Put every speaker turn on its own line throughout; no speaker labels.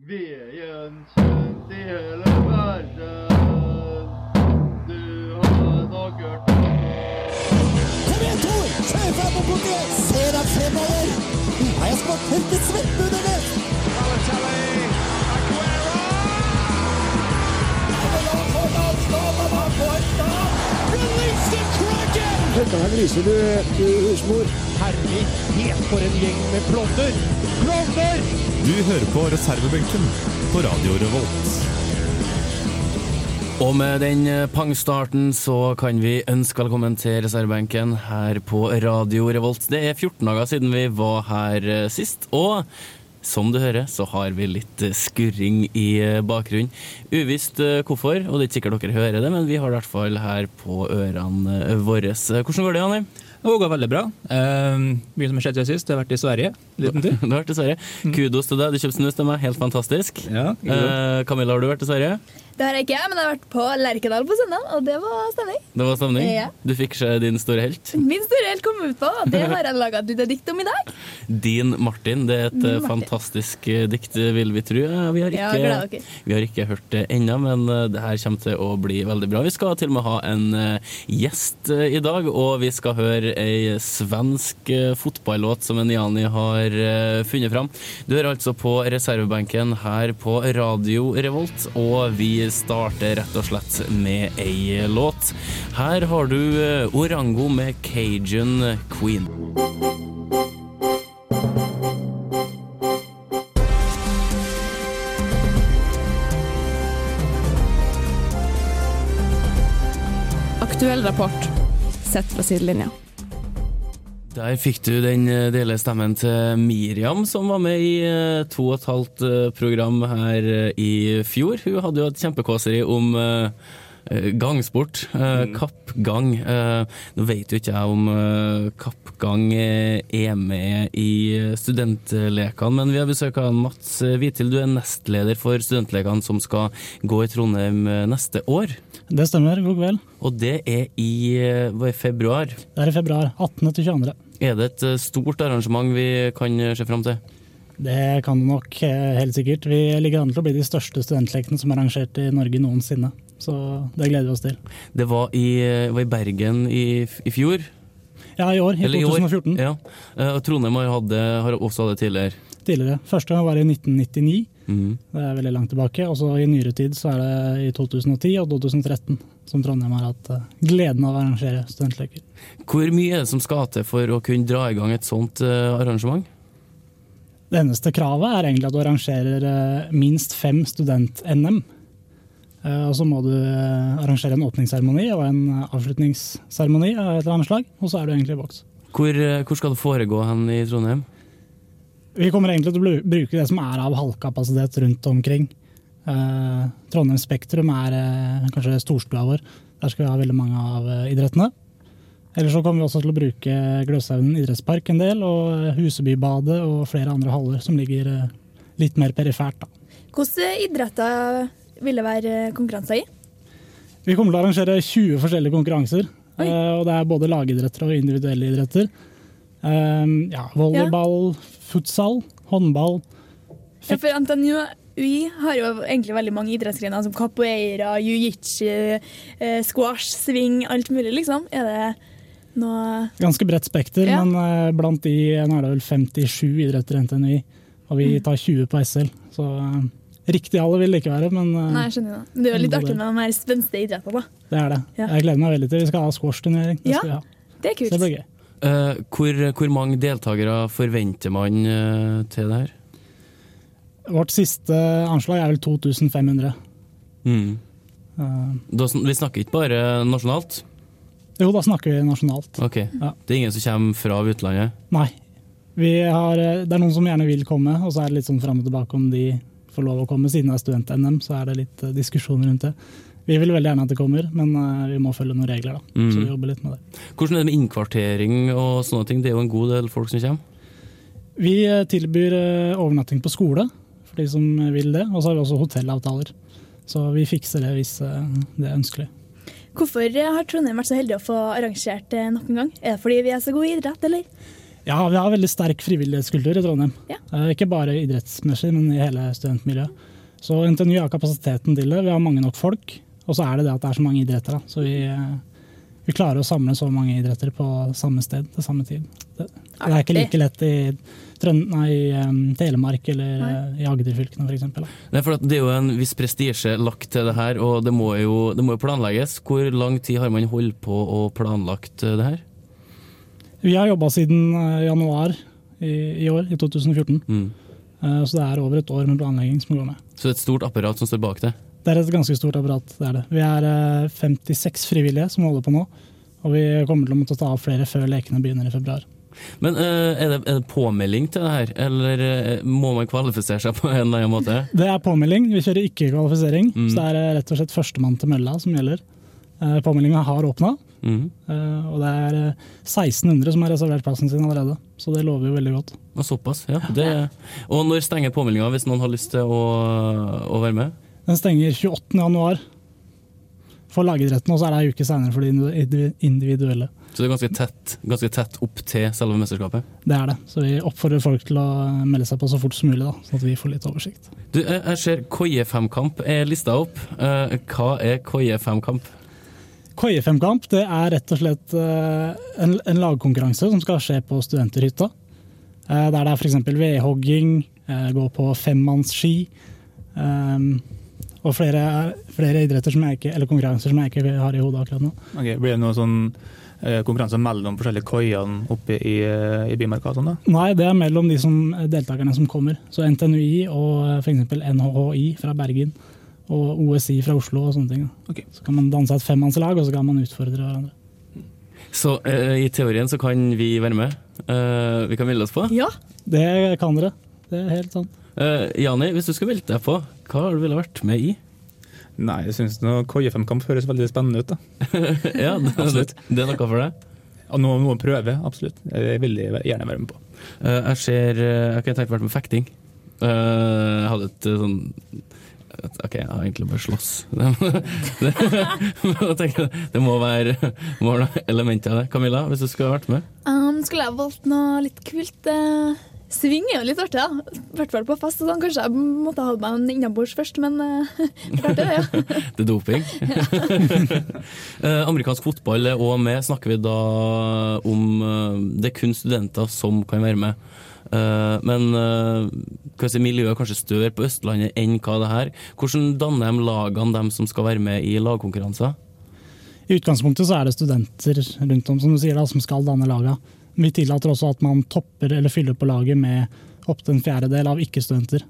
Veien kjent i hele verden. Du har nok hørt om
Kom igjen, Tor! Kjør fram og bort igjen! Se deg fremover! Nei, jeg skal tørke svettbunnene! Høgland lyser du i husmor.
Herlighet, for en gjeng med klovner! Klovner!
Du hører på reservebenken på Radio Revolt.
Og med den eh, pangstarten så kan vi ønske velkommen til reservebenken her på Radio Revolt. Det er 14 dager siden vi var her eh, sist, og som du hører så har vi litt eh, skurring i eh, bakgrunnen. Uvisst eh, hvorfor, og det er ikke sikkert dere hører det, men vi har det i hvert fall her på ørene eh, våre. Hvordan går det, Anni?
Det går veldig bra. Eh, mye som har skjedd siden sist. Jeg har vært i Sverige en liten tur.
Du har vært i Sverige. Kudos til deg, du kjøpte snus til meg. Helt fantastisk.
Ja, ikke sant?
Eh, Camilla, har du vært i Sverige?
Det har jeg ikke, men jeg har vært på Lerkendal på søndag, og det var stemning.
Det var stemning.
Ja.
Du fikk se din store helt.
Min store helt kom ut på, og det har jeg laga et lite dikt om i dag.
Din Martin. Det er et
Din
eh,
Martin.
fantastisk eh, dikt, eh, vil vi tro. Eh, Vi har
Ja,
ikke,
gleder dere.
vi har ikke hørt det ennå, men eh, det her kommer til å bli veldig bra. Vi skal til og med ha en eh, gjest eh, i dag, og vi skal høre ei svensk eh, fotballåt som en Jani har eh, funnet fram. Du hører altså på reservebenken her på Radio Revolt, og vi starter rett og slett med ei låt. Her har du eh, Orango med Cajun Queen.
Aktuell rapport sett fra sidelinja.
Der fikk du den eh, dele stemmen til Miriam, som var med i eh, to og et halvt eh, program her eh, i fjor. Hun hadde jo et kjempekåseri om eh, eh, gangsport. eh, Kappgang. Eh, Nå vet jo ikke jeg om eh, kappgang eh, er med i eh, studentlekene, men vi har besøk av Mats Hvitil. Du er nestleder for studentlekene som skal gå i Trondheim eh, neste år.
Det stemmer. God kveld.
Og det er i eh, hva er februar.
Det er i februar. 18. til 22.
Er det et eh, stort arrangement vi kan eh, se fram til?
Det kan det nok eh, helt sikkert. Vi ligger an til å bli de største studentlekene som er arrangert i Norge noensinne. Så det gleder vi oss til.
Det var i, eh, var i Bergen i, f- i fjor.
Ja, i år. I
eller i år.
2014.
Ja. Eh, Og Trondheim har, hatt det- har også hatt det tidligere.
Tidligere. Første gang var i 1999.
Mhm.
Det er veldig langt tilbake. Og så i nyere tid så er det i 2010 og 2013 som Trondheim har hatt eh, gleden av å arrangere studentleker.
Hvor mye er det som skal til for å kunne dra i gang et sånt eh, arrangement?
Det eneste kravet er egentlig at du arrangerer eh, minst fem student-NM. Eh, Og så må du eh, arrangere en åpningsseremoni og en eh, avslutningsseremoni av et eller annet slag. Og så er du egentlig i boks.
Hvor, eh, hvor skal det foregå hen i Trondheim?
Vi kommer egentlig til å bru- bruke det som er av halvkapasitet rundt omkring. Eh, Trondheim Spektrum er eh, kanskje storstua vår. Der skal vi ha veldig mange av eh, idrettene. Eller så kommer vi også til å bruke Gløshaugen idrettspark en del, og eh, Husebybadet og flere andre haller som ligger eh, litt mer perifert. da.
Hvilke idretter ville være konkurranser i?
Vi kommer til å arrangere 20 forskjellige konkurranser.
Oi.
eh, og det er både lagidretter og individuelle idretter. Um, ja, volleyball, futsal, håndball.
Ja, for NTNU UI har jo egentlig veldig mange idrettsgrener som capoeira, jiu-jitsu, eh, squash, sving, alt mulig, liksom. Er det noe
Ganske bredt spekter,
Ja.
men eh, blant de nå er det vel 57 idretter i NTNUI. Og vi
Mm.
tar 20 på SL, så eh, riktig alle vil det ikke være, men eh,
Nei, jeg skjønner det. Det er jo litt
Både-
artig med de her svenske idrettene, da.
det er det.
Ja.
Jeg gleder meg veldig til. Vi skal ha squashturnering. Det
Ja,
skal vi ha.
Det er
Så
kult.
det blir gøy.
Eh, Hvor, hvor mange deltakere forventer man eh, til det her?
Vårt siste anslag er vel 2500.
Mm.
Eh,
Da, sn- vi snakker ikke bare nasjonalt?
jo, da snakker vi nasjonalt.
Ok.
Ja.
Det er ingen som kommer fra utlandet?
Nei. Vi har, eh, det er noen som gjerne vil komme, og så er det litt sånn fram og tilbake om de får lov å komme. Siden det er student-NM, så er det litt eh, diskusjon rundt det. Vi vil veldig gjerne at de kommer, men eh, vi må følge noen regler, da. Så vi
Mhm.
jobber litt med det.
Hvordan er det med innkvartering og sånne ting? Det er jo en god del folk som kommer.
Vi eh, tilbyr eh, overnatting på skole for de som vil det, og så har vi også hotellavtaler. Så vi fikser det hvis eh, det er ønskelig.
Hvorfor har Trondheim vært så heldig å få arrangert det nok en gang? Er det fordi vi er så gode i idrett, eller?
Ja, vi har veldig sterk frivillighetskultur i Trondheim.
Ja.
Eh, Ikke bare idrettsmessig, men i hele studentmiljøet. Så NTNU har kapasiteten til det. Vi har mange nok folk. Og så er det det at det er så mange idretter. Da. Så vi, eh, vi klarer å samle så mange idretter på samme sted til samme tid. Det, det er ikke
Artig.
like lett i, Trønd nei, i eh, Telemark eller
Nei.
eh, i Agderfylkene f.eks.
Nei, for at Det er jo en viss prestisje lagt til det her, og det må, jo, det må jo planlegges. Hvor lang tid har man holdt på og planlagt eh, det her?
Vi har jobba siden eh, januar i, i år, i 2014.
Mm.
Eh, Så det er over et år med planlegging som går med.
Så det er et stort apparat som står bak det.
Det er et ganske stort apparat. det er det. Vi er eh, 56 frivillige som holder på nå. Og vi kommer til å måtte ta av flere før lekene begynner i februar.
Men eh, er, det, er det påmelding til det her, eller eh, må man kvalifisere seg på en eller annen måte?
Det er påmelding, vi kjører ikke kvalifisering.
Mm.
Så det er eh, rett og slett førstemann til mølla som gjelder. Eh, Påmeldinga har åpna,
Mhm.
og det er eh, 1600 som har reservert plassen sin allerede. Så det lover jo veldig godt.
Og såpass, ja. Det, og når stenger påmeldinga, hvis noen har lyst til å, å være med?
Den stenger 28. januar for lagidretten, og så er det ei uke seinere for de indivi- individuelle.
Så det er ganske tett, ganske tett opp til selve mesterskapet.
Det er det. Så vi oppfordrer folk til å eh, melde seg på så fort som mulig, da, sånn at vi får litt oversikt.
Du, jeg, jeg ser Koie femkamp er lista opp. Eh, hva er Koie femkamp?
Koiefemkamp det er rett og slett eh, en, en lagkonkurranse som skal skje på studenterhytta. Eh, Der det er f.eks. vedhogging, eh, gå på femmannsski eh, og flere, flere idretter som jeg ikke, eller konkurranser som jeg ikke har i hodet akkurat nå.
Ok, Blir det noe sånn eh, konkurranse mellom forskjellige koiene oppe i, eh, i Bymarka? og Sånn, da?
Nei, det er mellom de som, deltakerne som kommer. Så NTNUI og eh, f.eks. NHHI fra Bergen og OSI fra Oslo og sånne ting. da.
Ok.
Så kan man danse et femmannslag, og så kan man utfordre hverandre.
Så eh, i teorien så kan vi være med. Eh, vi kan melde oss på.
Ja.
Det kan dere. Det er helt sant.
Eh, Jani, hvis du skulle melde deg på, hva har du ville vært med i?
Nei, jeg syns koiefemkamp høres veldig spennende ut. da.
ja, det,
Absolutt.
Det er noe for deg.
Og noe, noe å prøve, absolutt. Jeg vil jeg gjerne være med på.
Eh, jeg ser eh, Jeg kunne tenkt meg å være med på fekting. Eh, jeg hadde et eh, sånn et- OK, jeg har egentlig bare slåss. det, jeg tenker, det må være, må være noe element av det. Camilla, hvis du skulle ha vært med?
Um, skulle jeg valgt noe litt kult? eh, sving er jo litt artig, da. I hvert fall på fest. og Sånn. Kanskje jeg måtte ha hatt meg en innabords først, men eh, det er artig, det, ja.
Det er doping. Eh, amerikansk fotball er òg med. Snakker vi da om eh, Det er kun studenter som kan være med. Eh, men eh, hva skal jeg si, miljøet er kanskje større på Østlandet enn hva det her. Hvordan danner de lagene, dem som skal være med i lagkonkurranser?
I utgangspunktet så er det studenter rundt om som du sier da, som skal danne laga. Vi tillater også at man topper eller fyller på laget med opptil en fjerdedel av ikke-studenter.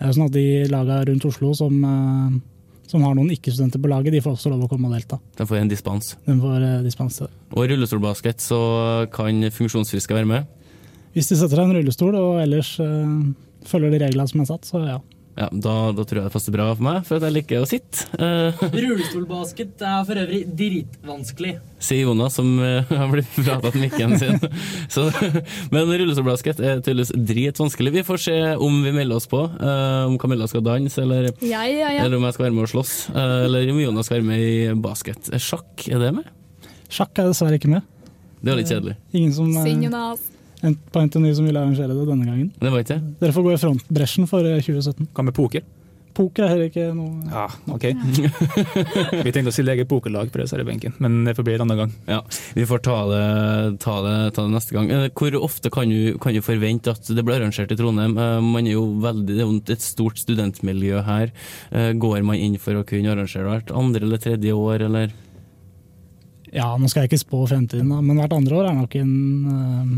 Eh, Sånn at de laga rundt Oslo som, eh, som har noen ikke-studenter på laget, de får også lov å komme og delta.
De får en dispens.
De får eh, dispens til det.
Og i rullestolbasket så kan funksjonsfriske være med.
Hvis de setter seg en rullestol og ellers eh, følger de reglene som er satt, så ja.
Ja, da, da tror jeg det passer bra for meg, for at jeg liker å sitte. Eh,
Rullestolbasket er for øvrig dritvanskelig.
sier Jonas, som eh, har blitt pratet om mikken sin. Så, men rullestolbasket er tydeligvis dritvanskelig. Vi får se om vi melder oss på. eh, om Camilla skal danse, eller,
Ja, ja, ja.
eller om jeg skal være med og slåss. eh, eller om Jonas skal være med i basket. Eh, Sjakk, er det med?
Sjakk er dessverre ikke med.
Det var litt kjedelig.
Ingen som, eh,
Synd, Jonas.
en- på NTNU som ville arrangere det denne gangen.
Det var ikke det.
Dere får gå i frontbresjen for eh, 2017.
Hva med poker?
Poker er heller ikke noe
Ja, ok. Vi tenkte å stille eget pokerlag på reservebenken, men det får bli en annen gang.
Ja, Vi får ta det, ta det, ta det neste gang. Eh, Hvor ofte kan du, kan du forvente at det blir arrangert i Trondheim? Eh, Man er jo veldig, det er jo et stort studentmiljø her. Eh, Går man inn for å kunne arrangere hvert andre eller tredje år, eller?
Ja, nå skal jeg ikke spå fremtiden, da, men hvert andre år er nok en eh,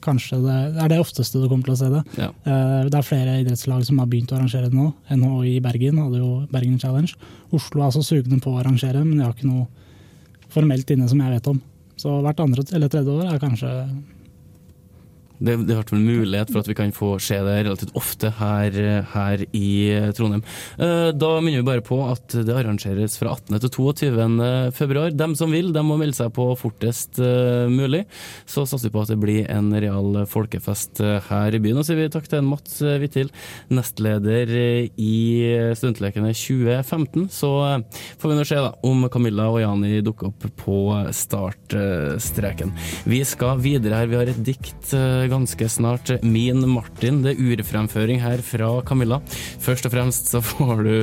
Kanskje det er det ofteste du kommer til å se det.
Ja.
Eh, det er flere idrettslag som har begynt å arrangere det nå. NHI i Bergen hadde jo Bergen Challenge. Oslo er så sugne på å arrangere, men de har ikke noe formelt inne som jeg vet om. Så hvert andre eller tredje år er kanskje
Det, det har vært en mulighet for at vi kan få se det relativt ofte her, eh, her i eh, Trondheim. Eh, Da minner vi bare på at det arrangeres fra 18. til 22. februar. Dem som vil, dem må melde seg på fortest eh, mulig. Så satser vi på at det blir en real folkefest eh, her i byen. Og så sier vi takk til Mats eh, Hvittil, nestleder eh, i Stuntlekene 2015. Så eh, får vi nå se da, om Camilla og Jani dukker opp på startstreken. Vi skal videre her. Vi har et dikt eh, ganske snart. Min Martin. Det er urfremføring her fra Camilla. Først og fremst så får du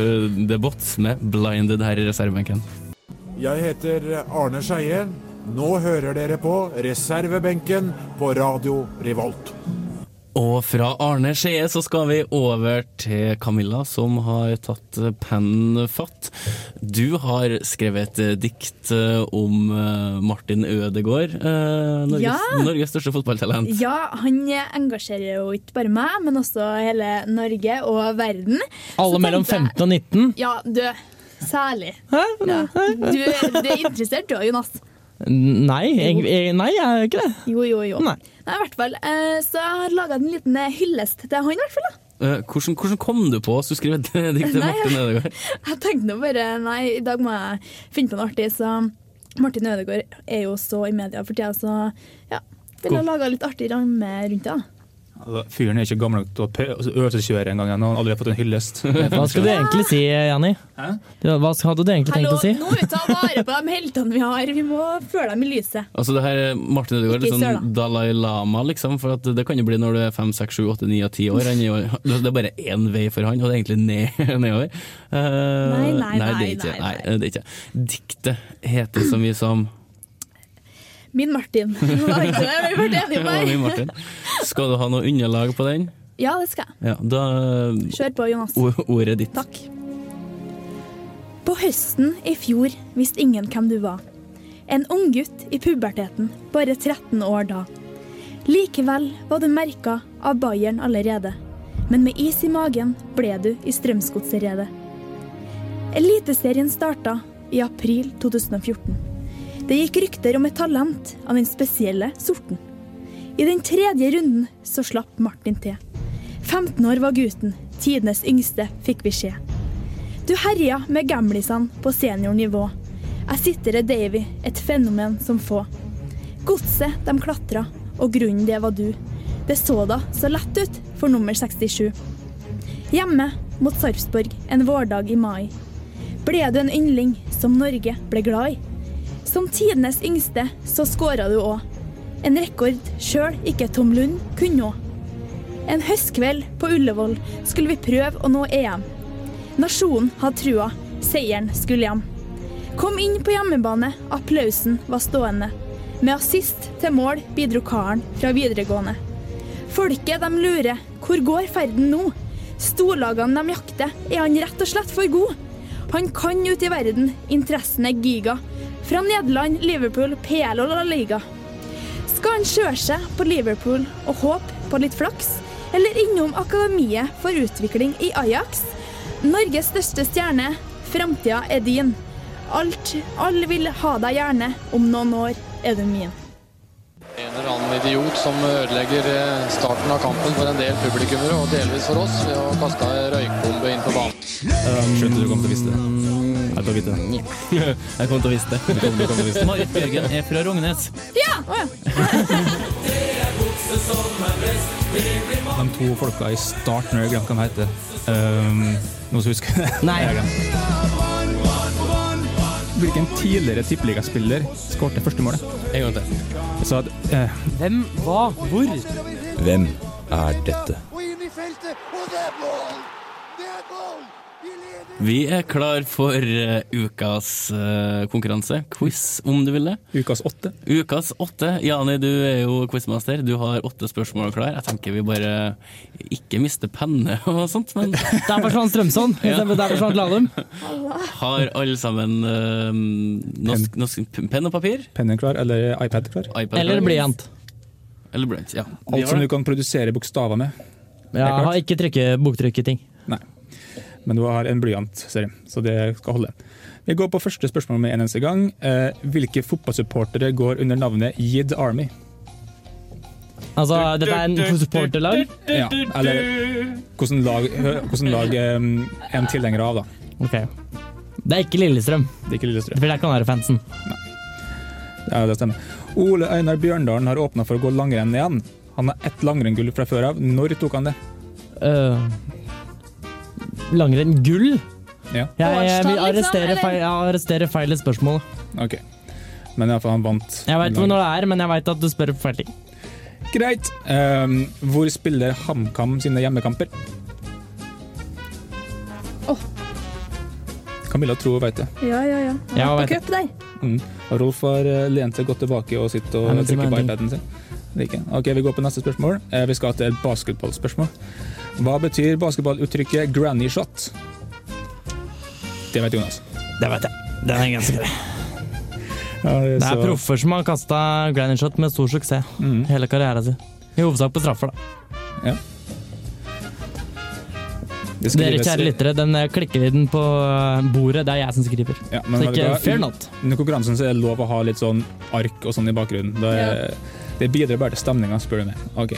The Bots med Blinded her i reservebenken.
Jeg heter Arne Skeie. Nå hører dere på reservebenken på Radio Revolt.
Og fra Arne Skeie så skal vi over til Camilla, som har tatt pennen fatt. Du har skrevet et dikt eh, om eh, Martin Ødegaard, eh, Norges,
Ja.
Norges største fotballtalent.
Ja, han engasjerer jo ikke bare meg, men også hele Norge og verden.
Alle mellom 15 og 19?
Ja, du. Særlig. Ja. Du, du er interessert du, Jonas.
Nei, jeg, jeg, nei, jeg er ikke det.
Jo, jo, jo.
Nei.
Nei, i hvert fall. eh, Så jeg har laga en liten eh, hyllest til han, i hvert fall. da.
Eh, Hvordan, hvordan kom du på at du skrev et dikt til
Nei,
Martin Ødegaard?
Jeg tenkte nå bare nei, i dag må jeg finne på noe artig, så Martin Ødegaard er jo så i media for tida, så ja. Ville ha laga litt artig ramme rundt det. da.
Altså, fyren er ikke gammel nok til å pe- altså, øvelseskjøre engang ennå. Han har aldri fått en hyllest.
Hva skulle du egentlig si, Janni? Du- Hva hadde du egentlig tenkt
Hallo,
å si?
nå må vi ta vare på de heltene vi har. Vi må føle dem i lyset.
Altså det her, Martin Ødegaard er
Ikke
litt
i
sånn Dalai Lama, liksom. For at det kan jo bli når du er fem, seks, sju, åtte, ni og ti år. Han er jo- altså, det er bare én vei for han, og det er egentlig ned, nedover. Eh,
Nei,
nei,
nei,
nei, det er
nei,
ikke. Nei, det er ikke. Diktet heter så mye som
Min Martin. Var ikke det? Vi ble
Det
enige
var min
på det.
Martin. Skal du ha noe underlag på den?
Ja, det skal jeg.
Ja, da
Kjør på, Jonas.
o- Ordet ditt.
Takk. På høsten i fjor visste ingen hvem du var. En ung gutt i puberteten, bare 13 år da. Likevel var du merka av Bayern allerede. Men med is i magen ble du i Strømsgodset-redet. Eliteserien starta i april 2014. Det gikk rykter om et talent av den spesielle sorten. I den tredje runden så slapp Martin til. 15 år var gutten, tidenes yngste, fikk beskjed. Du herja med gamlisene på seniornivå. Jeg sitter i Davy, et fenomen som få. Godset de klatra, og grunnen det var du. Det så da så lett ut for nummer 67. Hjemme mot Sarpsborg en vårdag i mai. Ble du en yndling som Norge ble glad i? Som tidenes yngste så skåra du òg. En rekord sjøl ikke Tom Lund kunne nå. En høstkveld på Ullevål skulle vi prøve å nå EM. Nasjonen hadde trua. Seieren skulle hjem. Kom inn på hjemmebane, applausen var stående. Med assist til mål bidro karen fra videregående. Folket de lurer, hvor går ferden nå? Storlagene de jakter, er han rett og slett for god? Han kan ut i verden, interessen er giga. Fra Nederland, Liverpool, PL og La Liga. Skal han kjøre seg på Liverpool og håpe på litt flaks? Eller innom Akademiet for utvikling i Ajax? Norges største stjerne, framtida er din. Alt, alle vil ha deg gjerne, om noen år er du min.
En eller annen idiot som ødelegger eh, starten av kampen for en del publikummere, og delvis for oss, ved å kaste ei røykbombe inn på banen.
Skjønte du kom til å vise det. Jeg til å vite det.
Jeg kom til å vise det.
Du kom, du kom til å vise det.
Marit Bjørgen er fra Rognes.
Ja! å ja.
De to folka i starten, jeg glemte hva de heter. Um, noen som husker det?
Nei.
Jeg har glemt. Hvilken tidligere tippeligaspiller skåret første målet?
En gang til.
Så at, eh,
Hvem, hva, hvor?
Hvem er dette?
Vi er klar for eh, ukas eh, konkurranse. Quiz, om du vil det.
Ukas åtte.
Ukas åtte. Jani, du er jo quizmaster. Du har åtte spørsmål klar. Jeg tenker vi bare ikke mister penne og sånt, men
Der forsvant Strømsson.
Ja.
Der forsvant Lahlum.
har alle sammen eh, norsk, norsk, penn og papir?
Pennen klar, eller iPad klar?
iPad
Eller
klar?
blyant.
Eller blyant, ja. Vi
Alt
har
som du
det.
kan produsere bokstaver med.
Jeg
klart.
har ikke trykke- boktrykketing.
Nei. Men du har en blyant, ser jeg, så det skal holde. Vi går på første spørsmål med en eneste gang. Eh, hvilke fotballsupportere går under navnet Yid Army?
Altså, dette er en for supporterlag?
Ja, eller hvordan lag, hvordan lag um, er de tilhengere av, da.
Ok. Det er ikke Lillestrøm.
Det er ikke Lillestrøm.
For der kan være fansen.
Ja, det stemmer. Ole Einar Bjørndalen har åpna for å gå langrenn igjen. Han har ett langrenngull fra før av. Når tok han det?
Øh, langrenn gull?
Ja.
Jeg, jeg
Årstall,
vil
liksom,
arrestere
eller?
feil, jeg arresterer feil i spørsmålet.
Ok. Men iallfall, han vant.
Jeg veit ikke når det er, men jeg veit at du spør på feil ting.
Greit. Ehm, hvor spiller HamKam sine hjemmekamper? Camilla tror hun vet det.
Ja, ja, ja.
Ja,
Han var
vet
på cup der.
Mm. Rolf har eh, lent seg godt tilbake og sitter
Nei,
og
men det
trykker
var
på
en
iPaden sin. Det er ikke. Ok, Vi går på neste spørsmål. Eh, Vi skal til et basketballspørsmål. Hva betyr basketballuttrykket 'granny shot'? Det vet Jonas.
Det vet jeg. Den er ganske grei.
det,
Det er proffer som har kasta granny shot med stor suksess hele karrieren sin. I hovedsak på straffer, da.
Ja. Det
Dere
skrives-
kjære lyttere, den eh, klikker i den på eh, bordet. Det er jeg som skriver.
Ja, men
så
vet du
ikke
hva?
fair not.
Under konkurransen så er det lov å ha litt sånn ark og sånn i bakgrunnen. Det, er- det bidrar bare til stemninga, spør du meg. Ok.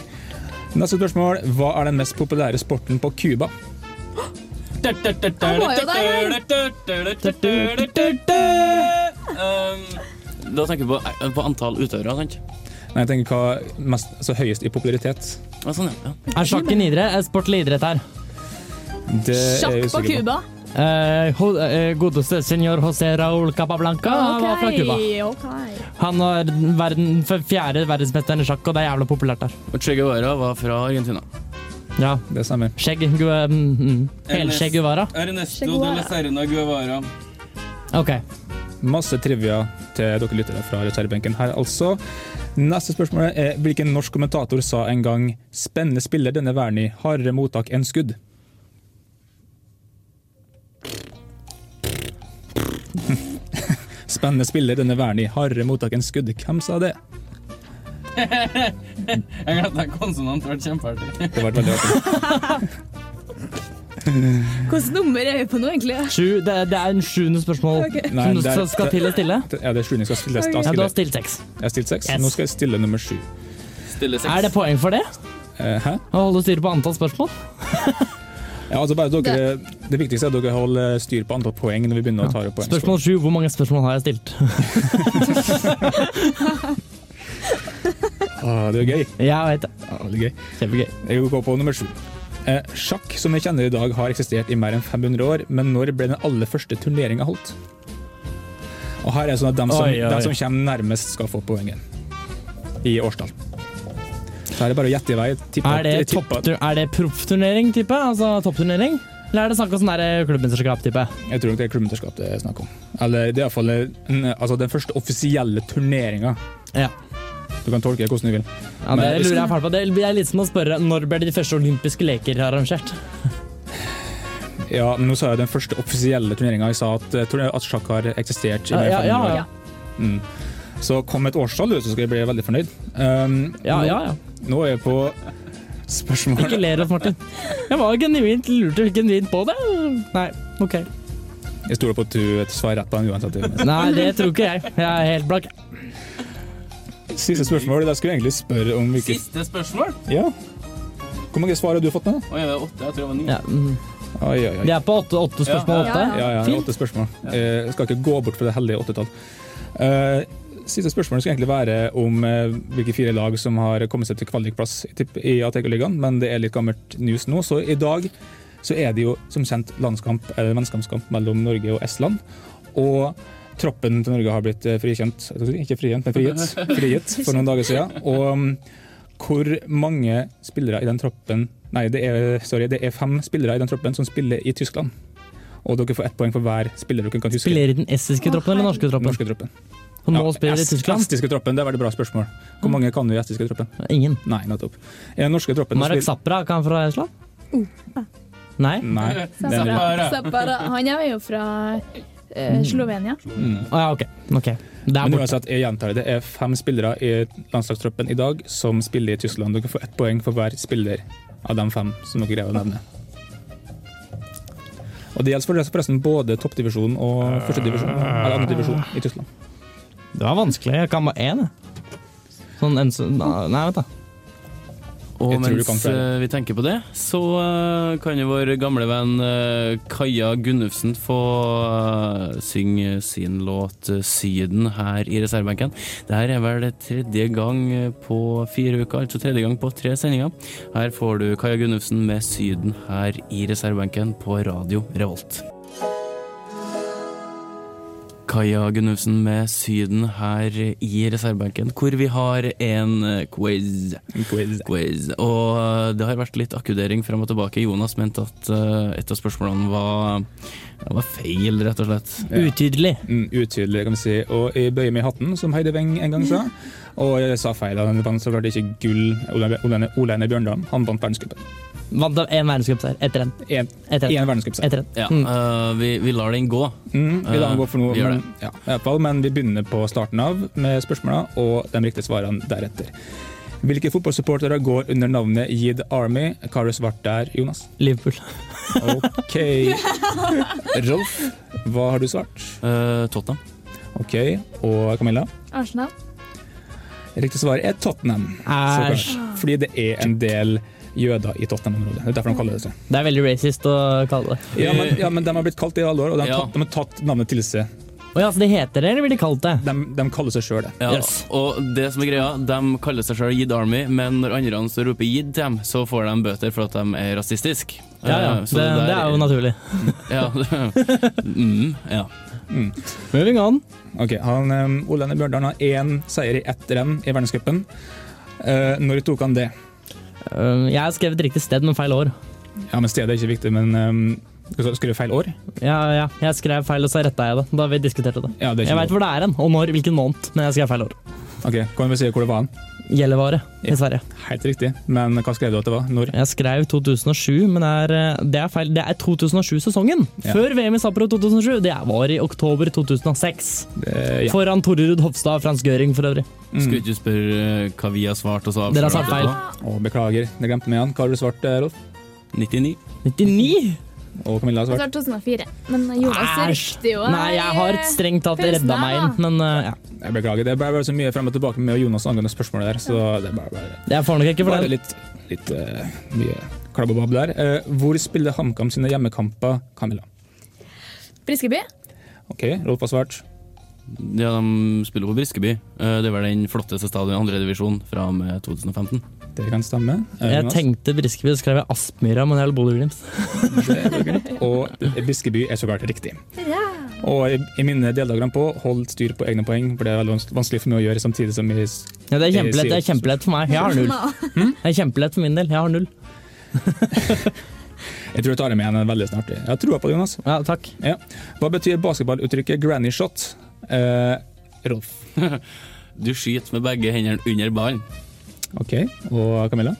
Neste spørsmål. Hva er den mest populære sporten på Cuba?
Han var jo
Um, Da tenker jeg på, på antall utøvere, sant?
Nei, jeg tenker hva mest, altså, høyest i popularitet.
Ja, sånn, ja.
Er sjakk en idrett? Er sport eller idrett her?
Det er jeg
Sjakk på
usikker
Cuba? Eh, ho- eh, godeste senor José Raúl Capablanca var fra Cuba. Han var verden, f- fjerde verdensmesteren i sjakk, og det er jævla populært der.
Og Che Guevara var fra Argentina.
Ja.
Det stemmer.
Skjegg Gu- mm, mm. Helskjegg Guevara.
Che
Ernesto
Guevara. de la
Serna Guevara.
Ok.
Masse trivia til dere lyttere fra reservebenken her, altså. Neste spørsmål er hvilken norsk kommentator sa en gang 'spennende spiller denne verden i, hardere mottak enn skudd'? Spennende spiller denne verden i, hardere mottak enn skudd. Hvem sa det?
Jeg glemte en konsonant, det ble kjempeartig.
Det ble veldig artig.
Hvilket nummer er vi på nå, egentlig?
Sju, det, er- det er en sjuende spørsmål
Ok.
som
Nei,
du
det er-
skal- skal til å stille.
Ja, det er sjuende jeg skal stille.
Ok.
Da skal
Ja, du har
jeg-
stilt seks.
Jeg har stilt seks.
Yes.
Nå skal jeg stille nummer sju.
Er det poeng for det?
Eh, hæ?
Å holde styr på antall spørsmål?
Ja, altså bare dere, det viktigste er at dere holder styr på antall poeng når vi begynner å ta opp poeng.
Spørsmål sju, hvor mange spørsmål har jeg stilt?
Ah, det er gøy.
Jeg vet det.
Ah, det er gøy. Jeg går på nummer sju. Eh, sjakk, som vi kjenner i dag, har eksistert i mer enn 500 år, men når ble den aller første turneringa holdt? Og her er det sånn at dem som,
Oi, oi, oi.
dem som kommer nærmest, skal få poenget. I årstall. Så her er det bare å gjette i vei. Tippa,
Er det,
tippa-
topptur- er det profftturnering, type? Altså toppturnering? Eller er det snakk om sånn der klubbmesterskap, type?
Jeg tror nok det er klubbmesterskap det er snakk om. Eller det er iallfall altså, den første offisielle turneringa.
Ja.
Du kan tolke det hvordan du vil.
Ja, det
Men-
lurer jeg fælt på. Det er litt som å spørre når ble de første olympiske leker arrangert?
Ja, men nå sa jeg den første offisielle turneringa. Jeg sa at, eh, turne- at sjakk har eksistert i
Ja,
mer enn
ja,
500
ja,
år.
ja.
Mm. Så kom et årstall, du, så skal jeg bli veldig fornøyd. Um,
Ja,
nå,
ja, ja.
Nå er jeg på spørsmål
Ikke ler oss, Martin. Jeg var genuint lurte genuint på det. Nei, OK.
Jeg stoler på at du svarer rett på den uansett.
Nei, det tror ikke jeg. Jeg er helt blank.
Siste spørsmål. Da skulle jeg egentlig spørre om hvilke
Siste spørsmål?
Ja. Hvor mange svar har du fått nå?
Oi, det er åtte. Jeg tror det var ni.
Ja, mm.
Oi, oi, oi.
Vi er på åtte, åtte spørsmål.
Ja, ja,
Åtte.
ja, det er
Fint.
åtte spørsmål. Eh, Jeg skal ikke gå bort fra det heldige åttetall. Eh, siste spørsmål skal egentlig være om eh, hvilke fire lag som har kommet seg til kvalikplass i tipp- i ATK-ligaen, men det er litt gammelt news nå. Så i dag så er det jo som kjent landskamp, eller vennskapskamp mellom Norge og Estland. Og troppen til Norge har blitt eh, frikjent, ikke frikjent, men frigitt, frigitt for noen dager siden. Og mm, hvor mange spillere i den troppen Nei, det er, sorry, det er fem spillere i den troppen som spiller i Tyskland. Og dere får ett poeng for hver spiller dere kan huske.
Spiller i den estiske troppen eller norske troppen?
Norske troppen.
Og nå
Ja,
spiller de
est-
i Tyskland? Mm.
Estiske troppen, det er veldig bra spørsmål. Hvor mange kan du i estiske troppen?
Ingen.
Nei, nettopp. I den norske troppen
Marek
spiller-
Zapra, er han fra Estland? Nei?
Nei. det er en-
Zapara. Zapara. Han er jo fra eh, Slovenia.
Mm.
ja, ok. Der
Men
borte.
uansett, jeg gjentar det. Det er fem spillere i landslagstroppen i dag som spiller i Tyskland. Dere får ett poeng for hver spiller av de fem som dere greier å nevne. Og det gjelder for- forresten både toppdivisjonen og førstedivisjonen, eller andredivisjonen i Tyskland.
Det var vanskelig. Jeg kan bare én. jeg. Sånn en, så- nei, vent da.
Og
Jeg tror du
mens
kan klare
eh, vi tenker på det, så eh, kan jo vår gamle venn eh, Kaja Gunnufsen få eh, synge sin låt eh, 'Syden' her i reservebenken. Dette er vel tredje gang eh, på fire uker, altså tredje gang på tre sendinger. Her får du Kaja Gunnufsen med 'Syden' her i reservebenken på Radio Revolt. Kaja Gunnufsen med Syden her i reservebenken, hvor vi har en eh, quiz.
quiz.
Og eh, det har vært litt akkudering fram og tilbake. Jonas mente at eh, et av spørsmålene var, ja, var feil, rett og slett.
Utydelig. Mm, utydelig, kan vi si. Og jeg bøyer meg i hatten, som Heidi Weng en gang sa. Og jeg sa feil. Han vant så klart ikke gull. Ole- Ole- Ole Einar Bjørndalen. Han vant verdenscupen.
Vant av én verdenscupseier etter en. Etter
Én
en.
verdenscupseier.
Etter en.
Ja,
Mm.
eh, vi, vi lar den gå.
Mm, vi lar den
Eh,
gå for noe,
vi gjør
men, ja, i hvert fall, men vi begynner på starten av med spørsmålene og de riktige svarene deretter. Hvilke fotballsupportere går under navnet Yid Army? Hva har du svart der, Jonas?
Liverpool.
OK. Rolf, hva har du svart?
Eh, Tottenham.
OK. Og Camilla?
Arsenal.
Riktig svar er Tottenham. så klart.
Æsj.
Fordi det er en del jøder i Tottenham-området. Det er derfor de kaller det det.
Det er veldig racist å kalle det.
Ja, men, ja, men de har blitt kalt det i alle år, og de har tatt, de har tatt navnet til seg.
Å ja, så de heter det, eller blir de kalt det?
De, kaller seg sjøl det.
Ja, Og det som er greia, de kaller seg selv Yid Army, men når andre så roper Yid til dem, så får de bøter for at de er rasistiske.
Ja, ja.
Eh,
Det,
så der
det er jo naturlig.
Ja. mm, ja.
Moving on.
Ok, han, um, Ole Einar Bjørndalen har én seier i ett renn i verdenscupen. Eh, når tok han det?
Um, jeg har skrevet riktig sted, men feil år.
Ja, men Stedet er ikke viktig, men um, skrev feil år?
Ja, ja. Jeg skrev feil, og så retta jeg det. Da vi diskuterte det.
det er ikke
jeg
noe.
veit hvor det er hen, og når, hvilken måned, men jeg skrev feil år.
Ok, Kan vi si hvor det var han?
Gjellivare i Sverige.
Helt riktig. Men hva skrev du at det var? Når?
Jeg skrev 2007, men er, eh, det er feil. Det er 2007-sesongen!
Ja.
Før VM i Sapro 2007. Det var i oktober 2006.
Eh, ja.
Foran Torerud Hofstad og Frans Gøring, for øvrig.
Skulle ikke du spørre eh, hva vi har svart? og så
Mm. Dere har
avsløre
svart feil.
etterpå?
Å, beklager, det glemte vi igjen. Hva har du svart, eh, Rolf?
99.
99?
Og Camilla har
Jeg
svart?
tar 2004. Men eh, Jonas er
Æsj.
riktig Eh, jo.
Nei, jeg har strengt tatt redda meg inn, men eh, ja.
Jeg beklager, det ble bare så mye frem og tilbake med Jonas angående spørsmålet der, så det ble bare,
Jeg får nok ikke for
bare
det.
litt, litt eh, mye klabb og babb der. Eh, hvor spiller HamKam sine hjemmekamper, Camilla?
Briskeby?
Ok, Rolf har svart.
Ja, de spiller på Briskeby. Eh, Det er vel den flotteste stadion i andredivisjon fra og med 2015.
Det kan stemme. Eh,
Jeg
Jonas?
tenkte Briskeby, så skrev jeg Aspmyra, men jeg er Bodø-Glimt.
Og Biskeby er så klart riktig. Og jeg, jeg minner deltakerne på hold styr på egne poeng, for det er veldig vans- vanskelig for meg å gjøre samtidig som jeg s-
Ja, det er kjempelett, det
jeg
er kjempelett for meg. Jeg har null. Det er kjempelett for min del. Jeg har null.
Jeg tror jeg tar dem igjen veldig snart. Jeg har trua på det, Jonas.
Ja, takk.
Ja. Hva betyr basketballuttrykket 'granny shot'? Eh, Rolf.
Du skyter med begge hendene under ballen.
OK. Og Camilla?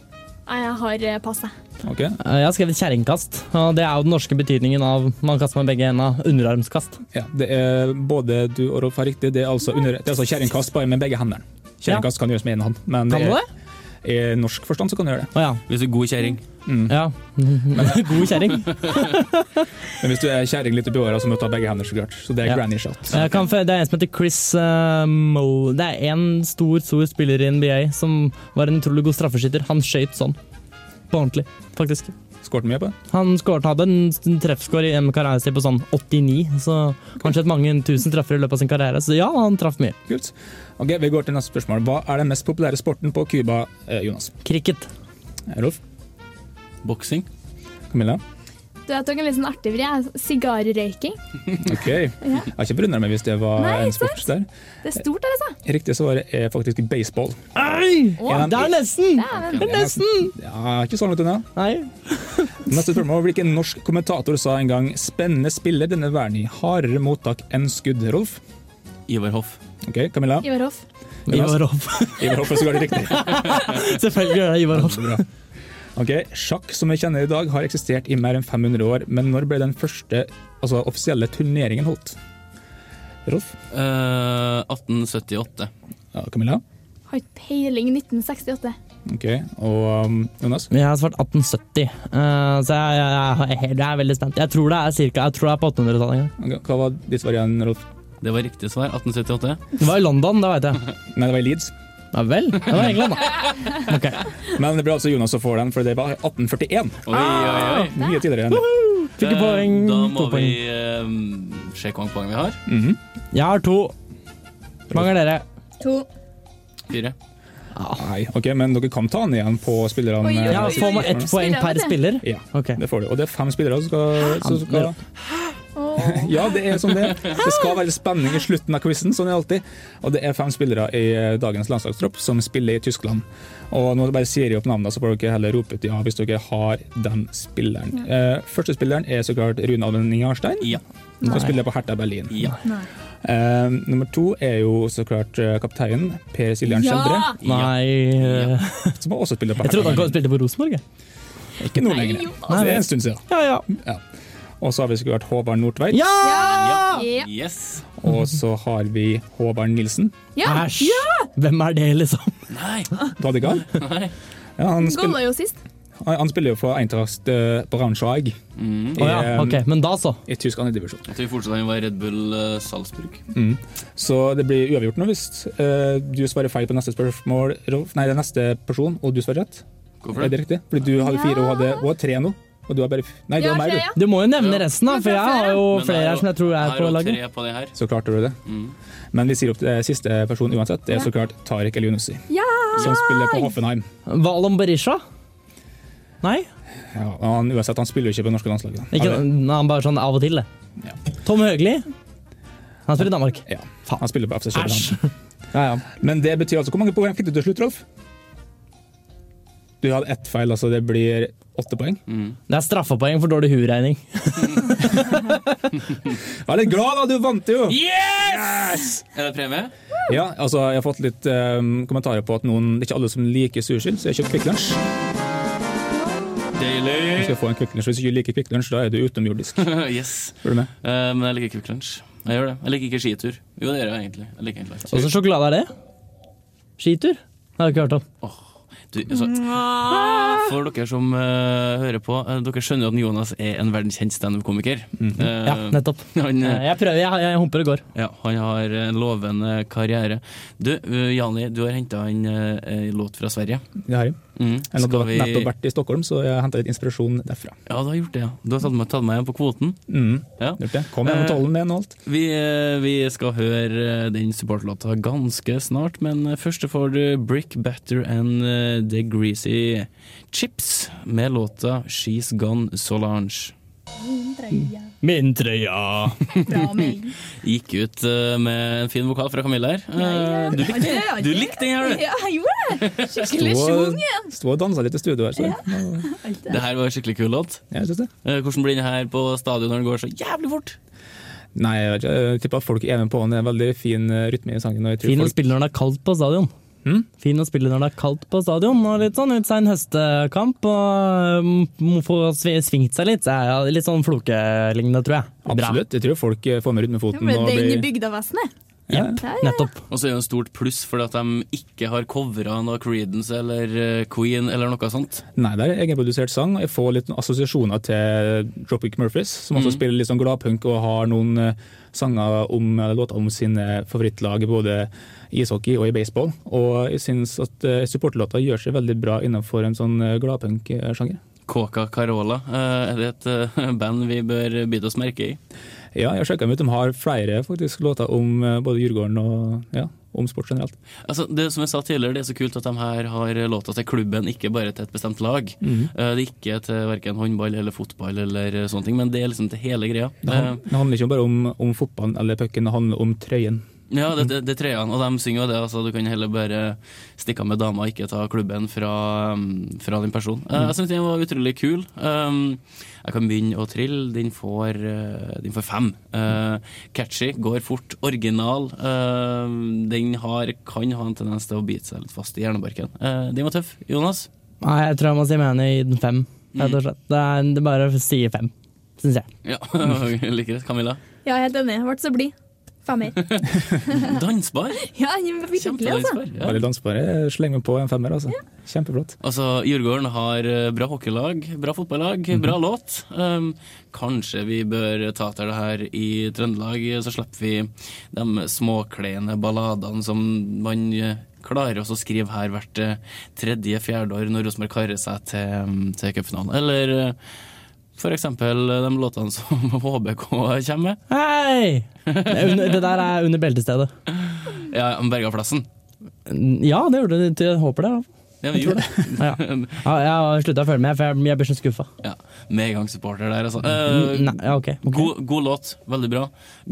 Nei, jeg har eh, pass, jeg.
OK.
Eh, Jeg har skrevet kjerringkast. og Det er jo den norske betydningen av man kaster med begge hendene. Underarmskast.
Ja, det er både du og Rolf har riktig. Det er altså, under- det er altså kjerringkast bare med begge hendene. Kjerringkast kan gjøres med én hånd, men
Kan
det
du
er,
det?
i norsk forstand så kan du gjøre det.
Å ja.
Hvis du er god kjerring.
ja. God kjerring.
Men hvis du er kjerring litt oppi åra, så må du ta begge hender, så klart. Så det er
Ja.
granny shot.
Jeg kan, fe- det er en som heter Chris eh, Mo... Det er en stor, stor spiller i NBA som var en utrolig god straffeskytter. Han skøyt sånn. På ordentlig, faktisk.
Skåret mye på det?
Han skåret, hadde en treffskår i en karriere sin på sånn 89, så han skjøt mange tusen treffer i løpet av sin karriere. Så ja, han traff mye.
Kult. Ok, Vi går til neste spørsmål. Hva er den mest populære sporten på Cuba, eh, Jonas?
Cricket.
Rolf?
Boksing.
Camilla?
Du, jeg tok en litt sånn artig vri. jeg. Sigarrøyking.
Ok. Jeg har ikke forundra meg hvis det var
Nei,
en sport der.
Det er stort, altså.
Riktig svaret er faktisk baseball.
Oi!
Ja,
Det er nesten!
Dæven.
Det er nesten!
Ja, ikke sånn, så langt unna.
Nei.
Neste spørsmål. Hvilken norsk kommentator sa en gang 'spennende spiller denne verden i hardere mottak enn skudd'? Rolf?
Ivar Hoff.
Ok, Camilla?
Ivar Hoff.
Ivar Hoff.
Ivar Hoff, så går det riktig.
Selvfølgelig er det Ivar Hoff.
Bra. Ok, Sjakk som vi kjenner i dag, har eksistert i mer enn 500 år, men når ble den første altså, offisielle turneringen holdt? Rolf?
Eh, 1878.
Ja, Camilla?
Har ikke peiling. 1968.
Ok, og um, Jonas?
Jeg har svart 1870, eh, så jeg, jeg, jeg, jeg er veldig spent. Jeg tror det er, cirka, jeg tror det er på 800-tallet. en gang.
Ok, Hva var ditt svar igjen, Rolf?
Det var riktig svar. 1878.
Det var i London, det veit jeg.
Nei, det var i Leeds.
Ja vel. Det var England, da.
Men det blir altså Jonas som får den, for det var 1841.
Oi, oi, oi.
Mye tidligere enn det.
Ah, Fikk jo poeng.
Da må
To poeng.
vi eh, se hvor mange poeng vi har.
Jeg har to. Mangler dere?
To.
Fire.
Nei, ok, men dere kan ta den igjen på spillerne.
Oi, oi, oi, Sånn, Ja,
eh,
får man ett
spørsmål.
poeng per spiller?
Ja, det får du. Og det er fem spillere som skal, som skal Ja, det er som det. er. Det skal være spenning i slutten av quizen, sånn er det alltid. Og det er fem spillere i eh, dagens landslagstropp som spiller i Tyskland. Og nå bare sier jeg opp navnene, så får dere heller rope ut ja hvis dere har den spilleren. Eh, Første spilleren er så klart Rune Almen Jarstein.
Ja.
Som
Nei.
spiller på Hertha Berlin.
Ja.
Nei.
Eh, nummer to er jo så klart eh, kapteinen Per Siljan
Ja!
Skjelbre.
Nei eh,
Som også spiller på
Jeg trodde han
Hertha.
spilte på Rosenborg. jeg.
Ikke nå lenger.
Nei,
Det er
vel.
en stund siden.
Ja, ja.
Og så har vi så klart Håvard Nordtveit.
Ja!
Yes.
Og så har vi Håvard Nilsen.
Ja!
Æsj! Hvem er det, liksom?
Nei.
Du hadde ikke han?
Nei.
Ja, han, spill,
Golla jo sist.
han han spiller jo for Eintracht eh, Braunschweig.
Mm.
I,
Å ja,
eh,
ok, men da så.
I tysk andredivisjon.
At vi fortsatt kan være Red Bull eh, Salzburg.
Mm. Så det blir uavgjort nå hvis eh, du svarer feil på neste spørsmål, Rolf. Nei, det er neste person, og du svarer rett.
Hvorfor det?
Er det riktig? Fordi du hadde fire, og hun hadde, hun har tre nå. Og du har bare f Nei, du
Ja,
har mer,
tre,
du.
Du må jo nevne resten, da, for jeg har jo
Men
flere
det er
her som jeg tror er
det
på
jo
laget.
Tre på det her.
Så klarte du det. Men vi sier opp eh, siste person uansett. Det er så klart Tariq El Younussi,
Ja!
som spiller på Hoffenheim.
Valom Berisha? Nei?
Ja, og han, uansett, han spiller jo ikke på det norske landslaget. da.
Ikke,
Har vi-
nei, han bare sånn av og til, det. Tom Høgli? Han spiller i Danmark.
Ja, han spiller på FC
Æsj.
København. Men det betyr altså Hvor mange poeng fikk du til slutt, Rolf? Du hadde ett feil, altså det blir åtte poeng.
Det er straffepoeng for dårlig huregning.
Jeg er litt glad, da! Du vant jo!
Yes! Er det premie?
Ja, altså Jeg har fått litt eh, kommentarer på at noen, det er ikke alle som liker sushi, så jeg har kjøpt Kvikk Lunsj. Du
Deilig!
skal få en Kvikk Lunsj. Hvis du ikke liker Kvikk Lunsj, da er du utenomjordisk.
yes.
Følger du med?
Eh, men jeg liker Quick Lunch. Jeg gjør det. Jeg liker ikke skitur. Jo, det gjør jeg egentlig. Jeg liker egentlig alt.
Altså-
Åssen sjokolade er det? Skitur? Det har jeg ikke hørt om.
Du, altså, for dere som eh, hører på, eh, dere skjønner jo at Jonas er en verdenskjent standup-komiker. Eh,
Ja, nettopp.
han, eh,
Jeg prøver, jeg, jeg humper og går.
ja, han har en lovende karriere. Du, eh, Jani, du har henta en eh, låt fra Sverige.
Det har jeg.
Mm.
Jeg har
Skal vi-
nettopp vært i Stockholm, så jeg har henta litt inspirasjon derfra.
Ja, du har gjort det. ja. Du har tatt med, tatt med igjen på kvoten.
Mm.
Ja.
Gjort det. Kom igjen med tollen med og alt.
Vi, eh, vi skal høre eh, den supportlåta ganske snart, men eh, først får du Brick Batter and eh, The Greasy Chips med låta She's Gone Solange.
Min trøya!
Bra melding.
Gikk ut eh, med en fin vokal fra Camilla her. Eh, Du likte den, du likte den her, du!
Ja, jeg gjorde det! Skikkelig
Stå-
sjungen.
Stå og dansa litt i studio her, så.
Det her var en skikkelig kul låt.
Jeg synes det.
Eh, Hvordan blir den her på stadion når den går så jævlig fort?
Nei, jeg vet ikke. Jeg tipper at folk er med på den. Det er en veldig fin eh, rytme i sangen. Og jeg tror
Fin å
folk...
spille når det er kaldt på stadion.
Mm?
Fin å spille når det er kaldt på stadion, og litt sånn ut seg en høstekamp. Og um, må få svi- svingt seg litt. Så er jeg litt sånn flokelignende, tror jeg. Bra.
Absolutt. Jeg tror folk eh, får med
Det
rytmefoten.
ble
Og
det inn i
blir...
bygdavesenet.
ja.
Nettopp.
Og så er det jo en stort pluss fordi at de ikke har covra noe Creedence eller eh, Queen eller noe sånt.
Nei, det er egenprodusert sang. Jeg får litt assosiasjoner til Tropic Murphys, som også
Mm.
spiller litt sånn gladpunk og har noen eh, sanger om eh, låter om sine favorittlag både i ishockey og i baseball. Og jeg syns at eh, supporterlåter gjør seg veldig bra innenfor en sånn eh, gladpunk-sjanger.
Coca Carola, eh, er det et eh, band vi bør bite oss merke i?
Ja, jeg har sjekka ut. De har flere faktisk låter om eh, både Djurgården og ja, om sport generelt.
Altså, det som jeg sa tidligere, det er så kult at de her har låta til klubben, ikke bare til et bestemt lag.
Mhm.
Eh, Det er ikke til verken håndball eller fotball eller sånne ting, men det er liksom til hele greia.
Det, han, det handler ikke bare om, om fotballen eller pucken, det handler om trøyen.
Eh, Ja, det, det, det er trøyene, og de synger jo det. Altså, du kan heller bare stikke av med dama, ikke ta klubben fra, um, fra din person. Eh, Jeg syns den var utrolig kul. Um, Jeg kan begynne å trille. Den får, eh, den får fem. Eh, Catchy, går fort, original. Eh, Den har, kan ha en tendens til å bite seg litt fast i hjernebarken. Eh, Den var tøff. Jonas?
Nei, jeg tror jeg må si meg enig i den fem. Rett og slett. Det er det bare sier fem, syns jeg.
Ja, like det. Camilla?
Ja, jeg er helt enig. Jeg ble så blid. Femmer.
Dansbar!
Ja, den var virkelig, altså.
Kjempedansbar. Ja.
Veldig dansbare. Slenger på en femmer, altså. Kjempeflott.
Altså, Djurgården har eh, bra hockeylag, bra fotballag,
Mhm.
bra låt. Um, kanskje vi bør ta til det her i Trøndelag, så slipper vi de småkleine balladene som man eh, klarer oss å skrive her hvert eh, tredje-fjerde år når Rosenborg karer seg til, mm, til cupfinalen. Eller eh, for eksempel eh, de låtene som HBK kommer med.
Hei! Det, er under- det der er under beltestedet.
Ja, om Bergaplassen.
Ja, det gjorde det. Jeg håper det.
Ja, vi gjorde det.
Ja. Ja, jeg har slutta å følge med, for jeg, jeg blir så skuffa.
Ja, Medgangssupporter der, altså.
Mm, nei, ja, ok,
God, god låt, veldig bra.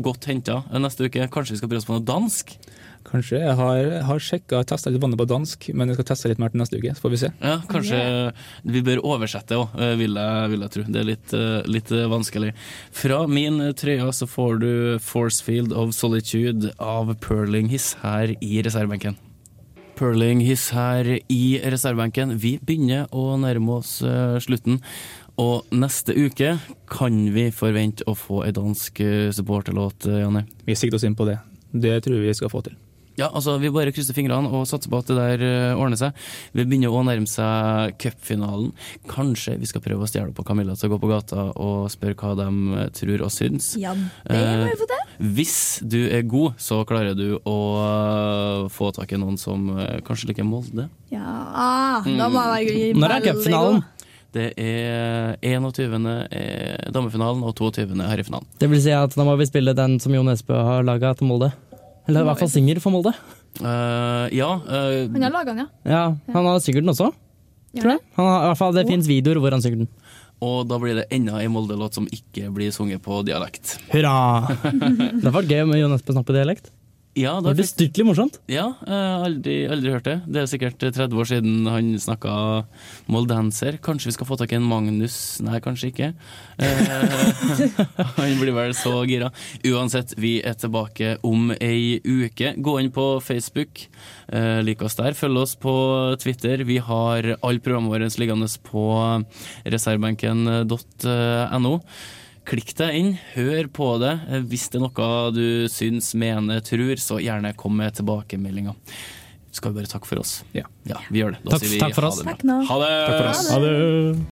Godt henta. Neste uke kanskje vi skal prøve oss på noe dansk?
Kanskje. Jeg har, jeg har sjekka og testa litt vannet på dansk, men jeg skal teste litt mer til neste uke, så får vi se.
Ja, kanskje vi bør oversette òg, vil, jeg- vil jeg tro. Det er litt, eh, litt eh, vanskelig. Fra min eh, trøye så får du 'Forcefield of Solitude' av Perling Hiss her i reservebenken. Perling Hiss her i reservebenken. Vi begynner å nærme oss eh, slutten. Og neste uke kan vi forvente å få ei dansk eh, supporterlåt, eh, Janne?
Vi sikter oss inn på det. Det tror vi vi skal få til.
Ja, altså Vi bare krysser fingrene og satser på at det der eh, ordner seg. Vi begynner å nærme seg cupfinalen. Kanskje vi skal prøve å stjele på Camilla til å gå på gata og spørre hva de eh, tror og syns.
Ja, det må vi få til.
Eh, Hvis du er god, så klarer du å eh, få tak i noen som eh, kanskje liker Molde.
Ja, ah, da må jeg være
Mm.
veldig god.
Det er 21. er damefinalen og 22. herrefinalen.
Det vil si at da må vi spille den som Jon Esbø har laga til Molde. Eller i hvert fall synger for Molde.
Eh, ja eh,
Han har laga den, ja.
Ja, Han har synger den også. Tror jeg. Han har, i hvert fall, det fins videoer hvor han synger den.
Og da blir det enda en Molde-låt som ikke blir sunget på dialekt.
Hurra! det hadde vært gøy om Jon Esbø snakket dialekt.
Ja,
Det
da
hadde blitt styrtelig morsomt.
Ja, eh, aldri, aldri hørt det. Det er sikkert 30 år siden han snakka moldenser. Kanskje vi skal få tak i en Magnus? Nei, kanskje ikke. Eh, han blir vel så gira. Uansett, vi er tilbake om ei uke. Gå inn på Facebook, eh, lik oss der. Følg oss på Twitter. Vi har alle programmene våre liggende på reservebenken.no. Klikk deg inn, hør på det. Eh, Hvis det er noe du syns, mener, tror, så gjerne kom med tilbakemeldinger. Skal vi bare takke for oss?
Ja.
vi gjør det. Da
Takk-
sier vi
takk for
ha
oss.
det bra.
Takk nå.
Ha det.
Takk for oss.
Ha det.